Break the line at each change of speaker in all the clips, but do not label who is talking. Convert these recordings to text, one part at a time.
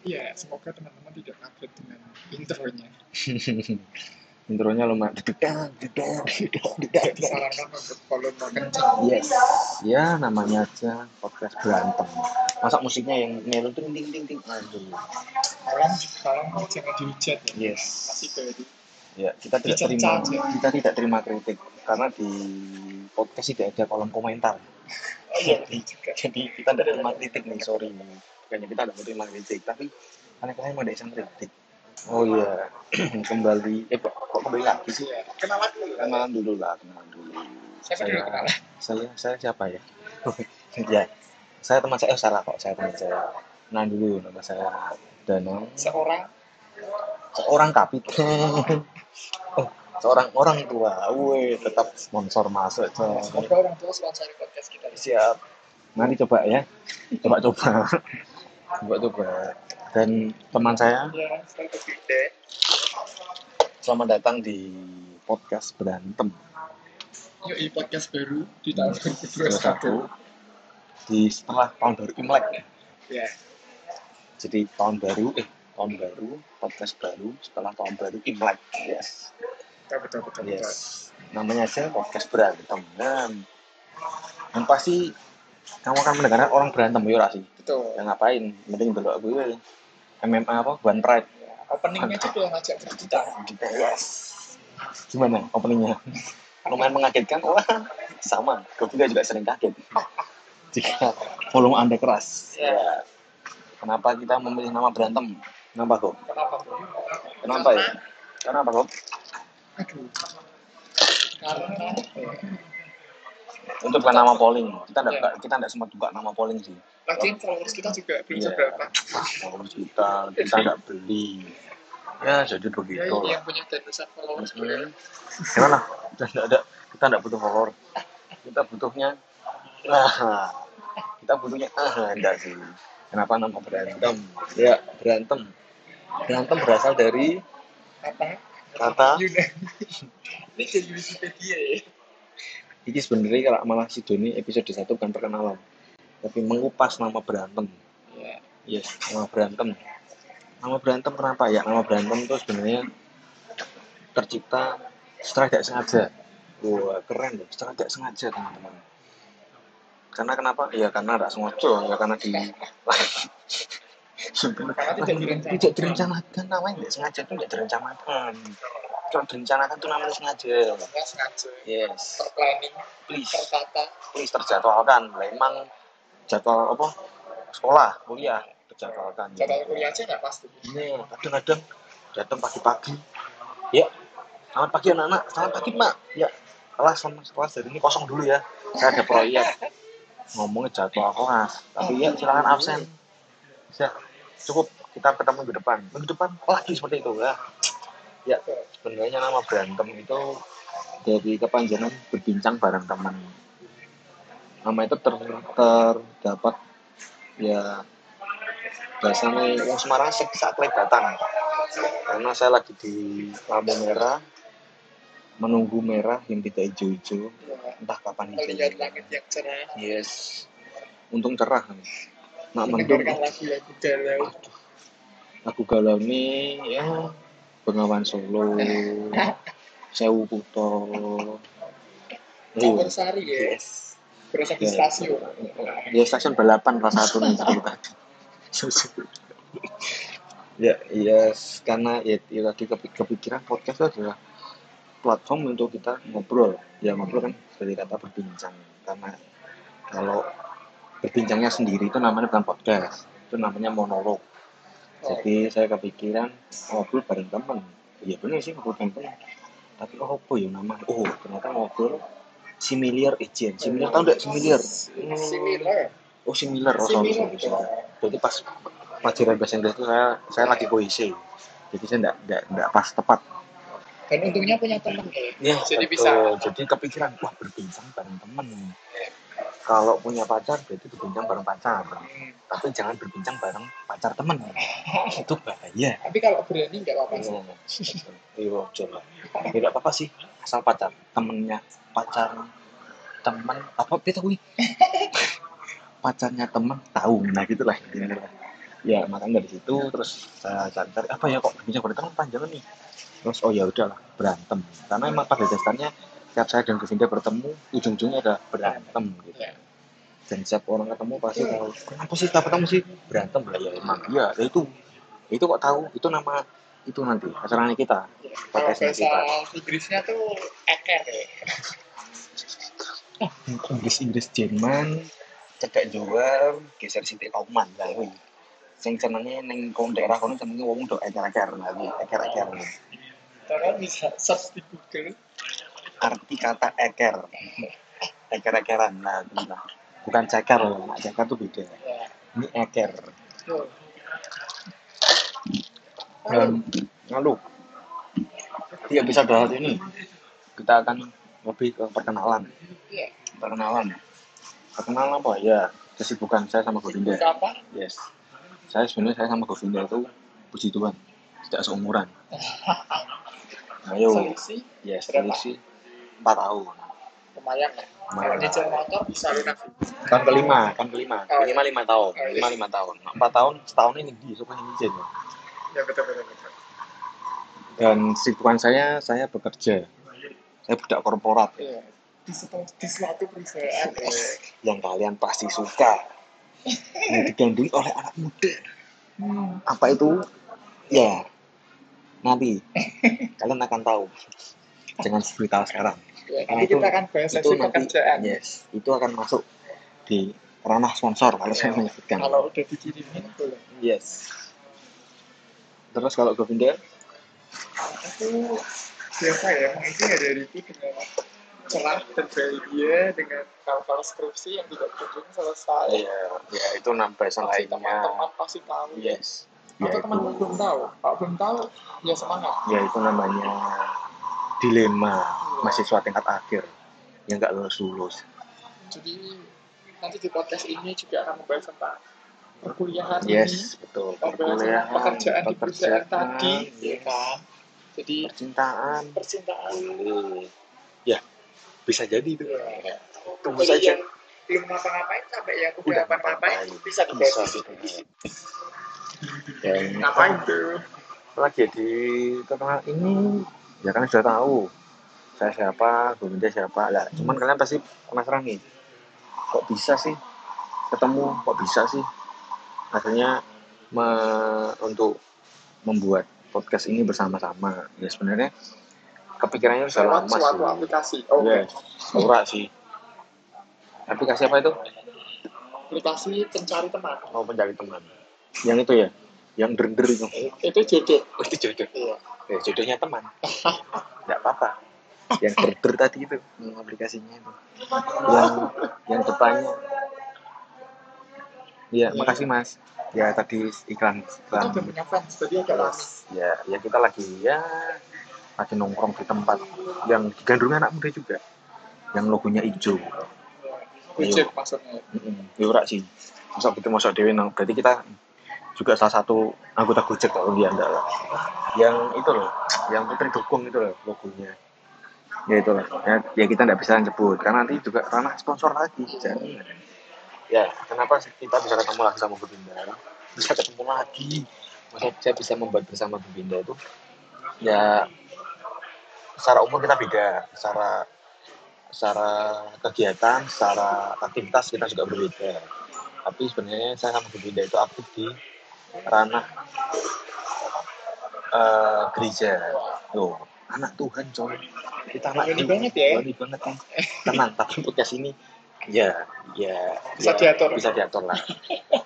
Iya, semoga teman-teman tidak kaget dengan intronya.
Intronya lumayan. Dedang, dedang, dedang, dedang,
Tidak
dedang.
disarankan untuk volume kencang.
Yes. Ya namanya aja podcast berantem. Masa musiknya yang melo ting ting ting ting. Aduh.
Tolong, tolong jangan dihujat ya.
Yes.
Kasih ke itu.
Ya, kita tidak terima
Dicerca aja.
kita tidak terima kritik karena di podcast tidak ada kolom komentar.
Oh iya, betul juga.
Jadi kita tidak terima kritik nih, sorry. Bukannya kita tidak terima kritik, tapi karena kalian mau desain kritik. Oh iya, kembali eh kok, kok kembali lagi sih?
Iya. Kenalan dulu. kan?
Kenalan dulu lah, kenalan dulu.
Siapa dulu kenalan?
saya saya siapa ya? ya, saya teman saya oh, salah kok, saya teman saya. Nah dulu nama saya Danang,
Seorang
seorang kapiten. Oh, seorang orang tua. Woi, tetap sponsor masuk. coy.
Semoga orang tua sponsori podcast kita.
Siap. Mari coba ya. Coba-coba. Coba-coba. Dan teman saya,
Ya, saya gede.
selamat datang di podcast berantem
Yuk, ini podcast baru di tahun
Iya.
2021.
2021. di setelah tahun baru Imlek.
Ya,
Jadi tahun baru eh tahun baru podcast baru setelah tahun baru Imlek. Yes.
betul betul betul.
Iya.
betul.
Yes. Namanya aja podcast berantem. Dan yang pasti kamu akan mendengarkan orang berantem ya ora sih.
Betul.
Ya ngapain? Mending dulu aku MMA apa? One Pride.
Openingnya itu udah ngajak berjuta.
Yes. Gimana openingnya? Lumayan mengagetkan. Wah, sama. Gobinda juga sering kaget. Jika volume Anda keras. Ya. Kenapa kita memilih nama berantem? Kenapa kok?
Kenapa? Bu?
Kenapa ya? Kenapa kok?
Aduh. Karena eh,
Itu bukan nama polling. Kita enggak kita enggak sempat buka nama polling sih.
lagian followers kita juga belum
Iya.
seberapa.
Polling kita kita enggak beli. Ya, jadi
Ya,
begitu.
ini
lah.
yang punya tetesan followers
Hmm.
gue.
Gimana? Kita enggak ada kita enggak butuh horor. Kita butuhnya Nah, kita butuhnya ah enggak sih. Kenapa nama berantem? Ya, berantem. Berantem berasal dari
Apa?
kata
Yunani. ini jadi Wikipedia ya.
ini sebenarnya kalau malah si Doni episode 1 bukan perkenalan. Tapi mengupas nama berantem.
Iya.
Yes, nama berantem. Nama berantem kenapa ya? Nama berantem itu sebenarnya tercipta secara tidak sengaja. Wah, keren loh, secara tidak sengaja teman-teman. Karena kenapa? Ya karena tidak sengaja, ya karena di
Karena tidak direncanakan.
Tidak direncanakan, namanya tidak sengaja itu tidak direncanakan. Kalau direncanakan itu namanya sengaja.
Nggak sengaja.
Yes,
Terplanning,
please,
tertata.
please terjadwalkan. Lah, Emang jadwal apa? Sekolah, kuliah, terjadwalkan.
Jadwal kuliah aja nggak pasti. gitu
ini kadang-kadang datang pagi-pagi ya selamat pagi anak-anak selamat pagi mak ya kelas sama kelas dari ini kosong dulu ya saya ada proyek ngomongnya jadwal kelas tapi ya silakan absen ya cukup kita ketemu minggu depan minggu depan lagi seperti itu ya ya sebenarnya nama berantem itu dari kepanjangan berbincang bareng teman nama itu ter terdapat ya biasanya yang Semarang sek- saat lagi datang karena saya lagi di lampu merah menunggu merah yang tidak hijau-hijau
Ya.
entah kapan
Melihat langit yang cerah.
yes untung cerah nak mendung
Mendengarkan lagu-lagu galau.
Ah, aku galau nih ya Bengawan Solo Sewu Kuto
Campur sari ya.
oh, yes
Berasa di
Ya.
stasiun.
ya stasiun balapan kelas satu nih sepuluh kaki. ya iya karena ya, ya tadi kepi- kepikiran podcast itu adalah platform untuk kita ngobrol ya ngobrol kan dari kata berbincang karena kalau berbincangnya sendiri itu namanya bukan podcast itu namanya monolog jadi saya kepikiran ngobrol bareng temen iya bener sih ngobrol bareng temen tapi oh apa ya namanya oh ternyata ngobrol similar agent similar tau gak similar
Mm, Similar.
oh similar oh sorry
Similar.
sorry, sorry. berarti pas pelajaran bahasa Inggris itu saya saya lagi puisi jadi saya enggak enggak, enggak pas tepat
Dan untungnya punya teman ya.
ya
Jadi
betul.
bisa.
jadi kepikiran wah berbincang bareng temen kalau punya pacar berarti berbincang bareng pacar
Hmm.
tapi jangan berbincang bareng pacar temen itu bahaya
Tapi kalau berani nggak apa-apa
Mm.
sih.
Iya, coba. Tidak apa-apa sih, asal pacar temennya, pacar temen apa kita kuwi pacarnya temen tahu nah gitulah intinya lah. ya makanya dari situ terus saya cari-cari apa ya kok bincang berantem panjang nih terus oh ya udahlah berantem karena emang pada dasarnya setiap saya dan Govinda bertemu ujung-ujungnya ada berantem gitu
Ya.
dan setiap orang ketemu pasti tahu kenapa sih tak ketemu sih berantem lah ya emang iya ya itu itu kok tahu itu nama itu nanti acaranya kita
Kalau bahasa
podcastnya kita
Inggrisnya tuh eker ya.
Inggris Inggris Jerman cedak Jawa geser sithik Kauman lah kuwi sing senenge ning kono daerah kono jenenge wong do eker-eker lah kuwi eker-eker
Kalian bisa search di Google.
arti kata eker eker-ekeran nah itu lah. bukan ceker loh nak ceker tuh beda
Ya.
ini eker
Tuh.
dan lalu di episode hari Iya, ini kita akan lebih ke perkenalan
Iya.
perkenalan ya? perkenalan apa ya kesibukan saya sama Govinda
Siapa?
Yes. Saya sebenarnya saya sama Govinda itu puji Tuhan tidak seumuran. Ayo.
Solusi
Yes,
Berapa?
selisih empat tahun.
lumayan lah. Kalau
Lumayan.
di motor bisa lunak.
Tahun kelima, tahun kelima,
Oh,
lima lima tahun,
Oh, iya.
lima lima tahun, Nah, empat tahun setahun ini di suka yang izin.
Ya betul betul betul.
Dan kesibukan saya, saya bekerja. Saya budak korporat
Iya. Di, suatu- di suatu perusahaan. ya.
yang kalian pasti suka. Yang digandrung oleh anak muda.
Hmm.
Apa itu? Ya, nanti kalian akan tahu. Jangan beritahu sekarang.
Ya,
Nah,
nanti
itu-
kita akan bahas
itu
sesi
nanti ya.
pekerjaan.
yes itu akan masuk di ranah sponsor Iya. kalau saya menyebutkan
Kalau udah dikirimin boleh.
yes terus kalau Govinda
aku biasa ya mengisi hari-hariku dengan ya, celah berbahagia dengan hal-hal skripsi yang tidak kunjung selesai
ya itu nambah
pasti teman-teman pasti tahu
yes
atau
ya itu,
teman-teman belum tahu kalau belum tahu ya semangat
ya itu namanya dilema
Iya.
mahasiswa tingkat akhir yang nggak lulus lulus
jadi nanti di podcast ini juga akan membahas tentang perkuliahan
yes betul
ini membahas tentang pekerjaan di perusahaan tadi ya
yes.
kan jadi
percintaan
percintaan
Boleh. ya bisa jadi itu
ya.
Tunggu
Jadi
saja.
yang belum ngapa-ngapain sampai ya yang
Udah
udah ngapa-ngapain
ngapa-ngapain.
bisa dibahas
bisa
di sini.
Dan
ngapain tuh
lagi di terkenal ini ya kan sudah tahu saya siapa Govinda siapa lah cuman kalian pasti penasaran nih kok bisa sih ketemu kok bisa sih akhirnya me- untuk membuat podcast ini bersama-sama ya sebenarnya kepikirannya sudah
lewat
lama
suatu
sih
aplikasi oh
Yes, ora sih aplikasi apa itu
aplikasi pencari teman
mau mencari teman yang itu ya yang derender itu
itu jodoh
Oh, itu jodoh
iya
ya jodohnya teman nggak apa-apa yang gerber tadi itu yang aplikasinya itu yang yang depannya ya makasih mas ya tadi iklan
kita
iklan
udah punya fans jadi agak lama
Terus, ya ya kita lagi ya lagi nongkrong di tempat yang digandrungi anak muda juga yang logonya hijau
Wujud
Iya.
maksudnya
Mm-mm. ya ora sih masa kita masa dewi nang berarti kita juga salah satu anggota Gojek kalau dia enggak lah yang itu loh yang putri dukung itu loh logonya ya itu loh ya, ya kita enggak bisa nyebut karena nanti juga ranah sponsor lagi jadi ya kenapa sih kita bisa ketemu lagi sama Bebinda bisa ketemu lagi masa saya bisa membuat bersama Bebinda itu ya secara umur kita beda secara secara kegiatan, secara aktivitas kita juga berbeda. Tapi sebenarnya saya sama berbeda itu aktif di ranah eh, gereja. Tuh, anak Tuhan coy. Kita anak
Berani
Tuhan.
banget ya.
Berani banget kan. Tenang, tapi podcast ini ya ya
Bisa
ya,
diatur.
bisa diatur lah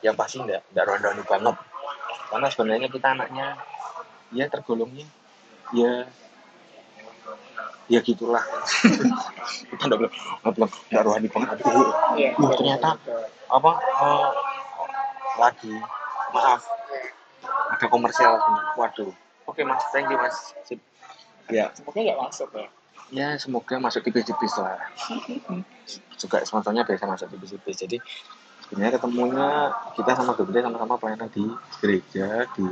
yang pasti enggak enggak ronda banget karena sebenarnya kita anaknya ya tergolongnya ya ya gitulah kita enggak bilang enggak bilang enggak rohani banget tapi ya,
iya
Wah, ternyata- apa eh, lagi maaf ada komersial waduh oke mas thank you mas Sip. ya
semoga ya masuk ya
ya semoga masuk tipis-tipis lah juga sponsornya biasa masuk tipis-tipis jadi sebenarnya ketemunya kita sama Gabriel sama-sama pelayanan di gereja di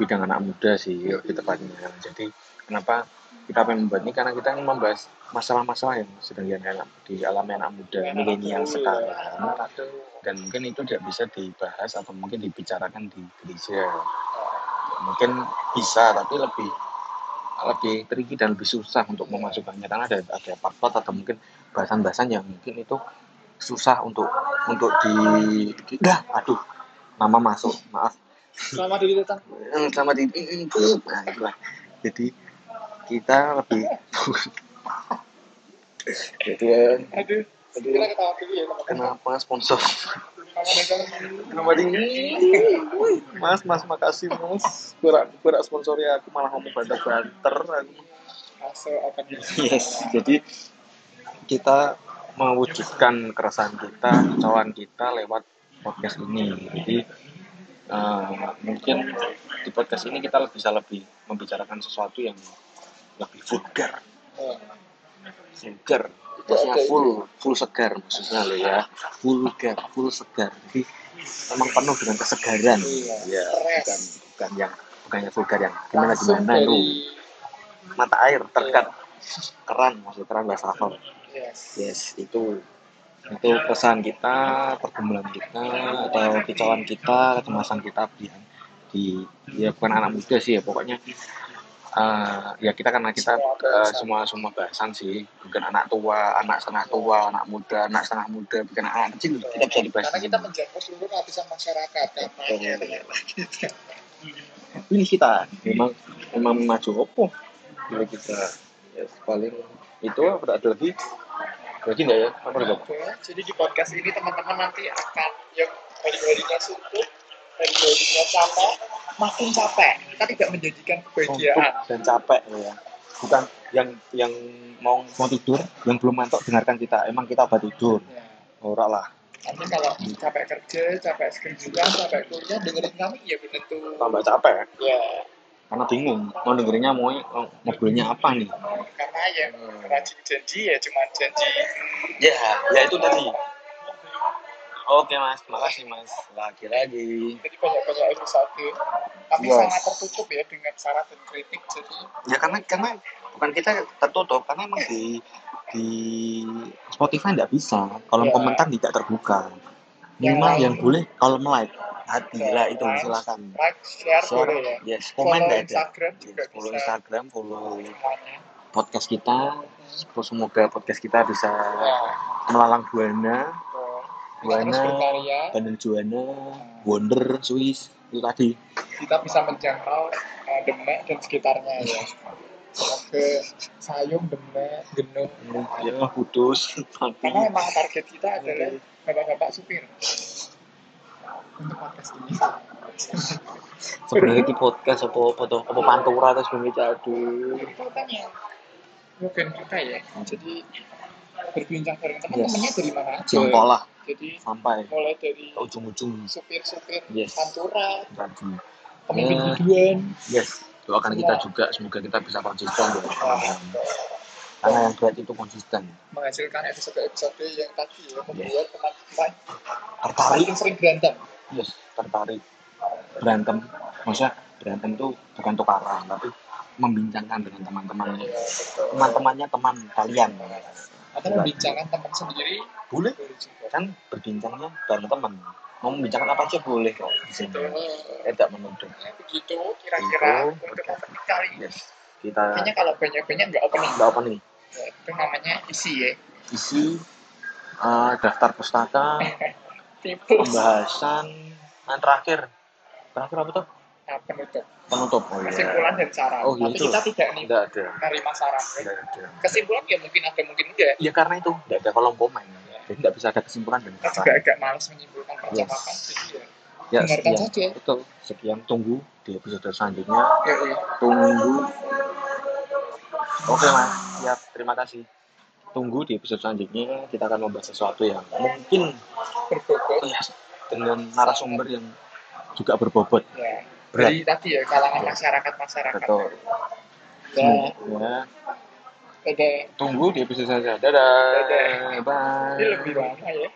bidang anak muda sih di tempatnya. Jadi kenapa kita pengen membuat ini karena kita ingin membahas masalah-masalah yang sedang dialami dialami anak muda milenial sekarang dan mungkin itu tidak bisa dibahas atau mungkin dibicarakan di gereja mungkin bisa tapi lebih lebih tricky dan lebih susah untuk memasukkannya karena ada ada part-part atau mungkin bahasan-bahasan yang mungkin itu susah untuk untuk di, di dah, aduh mama masuk maaf
Selamat diri datang.
yang sama di nah, itulah. jadi kita lebih jadi eh,
Aduh, kita ketawa dulu ya teman-teman.
kenapa sponsor
Selamat datang.
nomor ini mas mas makasih mas kurang kurang sponsornya aku malah ngomong banter banter
Masuk apa dia?
yes jadi kita mewujudkan keresahan kita kecauan kita lewat podcast ini jadi eh, mungkin di podcast ini kita bisa lebih membicarakan sesuatu yang lebih vulgar
Oh,
segar maksudnya
Oke.
full full segar maksudnya lo ya vulgar full segar jadi memang penuh dengan kesegaran
Iya.
ya bukan
Fresh.
bukan yang bukan yang vulgar yang gimana
Langsung
gimana itu
dari
mata air terkat keran maksud keran bahasa Arab
yes.
yes itu itu kesan kita pergumulan kita atau kicauan kita kecemasan kita di di ya bukan anak muda sih ya pokoknya eh, ya kita karena kita
Semua
eh,
bahasan.
semua semua bahasan sih bukan anak tua anak setengah tua anak muda anak setengah muda bukan anak kecil kita bisa dibahas
Karena kita menjangkau seluruh lapisan masyarakat ya, namanya
Betul.
dengan
ini kita memang memang maju opo dari kita ya, paling itu apa ada lagi lagi nggak ya apa lagi
Oke, jadi di podcast ini teman-teman nanti akan ya, yang hari-harinya suntuk, hari-harinya capek, makin capek. Kita tidak menjadikan kebahagiaan.
suntuk dan capek ya. Bukan yang yang mau mau tidur, yang belum mantok dengarkan kita. Emang kita obat tidur.
Ya.
Ora lah,
Tapi kalau capek kerja, capek skripsian, capek kuliah, dengerin kami ya bener tuh.
tambah capek
Ya,
karena bingung mau dengerinnya mau mau ngobrolnya apa nih.
karena yang rajin janji ya cuma janji.
Ya, ya itu tadi. Oke Mas, makasih Mas. Lagi-lagi.
Jadi banyak-banyak episode. Tapi
Yes.
sangat tertutup ya dengan saran dan kritik. Jadi
Ya karena karena bukan kita tertutup karena emang di di Spotify nggak bisa
Ya.
kolom komentar tidak terbuka minimal
Yang-
yang boleh kolom like hati
Ya,
lah itu
like.
silakan
like, share,
Share,
boleh ya.
yes, komen
Follow
nggak ada.
Instagram juga
Yes, follow
bisa.
Instagram, follow
Semuanya.
podcast kita. Semoga podcast kita bisa
Ya.
melalang buana,
Kita terus
Buana.
berkarya,
bandar juana, wonder, Swiss itu tadi.
kita bisa menjangkau eh, Demek dan sekitarnya ya. Ke Sayung, Demek, Genung.
Ya kudus.
Karena
Hmm.
emang target kita
Iya,
adalah bapak-bapak supir. Untuk podcast ini.
Sebenarnya di podcast apa apa apa pantura terus sebenarnya aduh.
Katanya mungkin kita ya. Jadi berbincang bareng teman-temannya dari mana aja.
Jongkok lah
Jadi
sampai
mulai dari
ke ujung-ujung.
supir-supupir
Oh. Yes.
pantura,
Tadi.
pemimpin
Ya.
biduan.
Yes, doakan kita
Ya.
juga semoga kita bisa konsisten ya.
Nah,
Karena yang berat itu konsisten.
menghasilkan episode-episode yang tadi ya membuat teman-teman
Tertarik
paling sering berantem.
yes tertarik berantem maksudnya berantem tuh bukan tukaran tapi membincangkan dengan teman-temannya
Ya, betul.
teman-temannya teman kalian
Atau membincangkan teman sendiri
boleh
boleh juga.
kan berbincangnya bareng teman mau membicarakan apa aja boleh kok di sini
Betul.
tidak menuntut
Ya, begitu kira-kira
Begitu.
untuk opening kali ini.
yes kita
Kayaknya kalau banyak-banyak nggak opening.
nggak apa nih
Ya, Itu namanya isi ya.
isi eh, daftar pustaka
Tipus.
pembahasan yang terakhir terakhir apa tuh
Nah, penutup.
penutup oh
Kesimpulan dan saran.
Oh, iya,
Tapi
itu.
kita tidak nih
tidak ada
menerima saran.
tidak ada
Kesimpulan ya mungkin ada mungkin enggak.
ya karena itu tidak ada kolom komen jadi tidak bisa ada kesimpulan dan
Kita juga
saran.
agak malas menyimpulkan percakapan.
Yes.
Jadi ya.
ya
dengarkan
sekian
saja.
betul sekian tunggu di episode selanjutnya
Ya, ya.
tunggu oke mas siap terima kasih tunggu di episode selanjutnya kita akan membahas sesuatu yang mungkin
Berbobot.
eh, dengan narasumber yang juga berbobot
Ya.
Berat.
Jadi tadi ya kalangan
Berat.
masyarakat-masyarakat.
betul
Ya,
ya
ada
tunggu di episode selanjutnya dadah,
Dadah.
bye
ini lebih lama ya.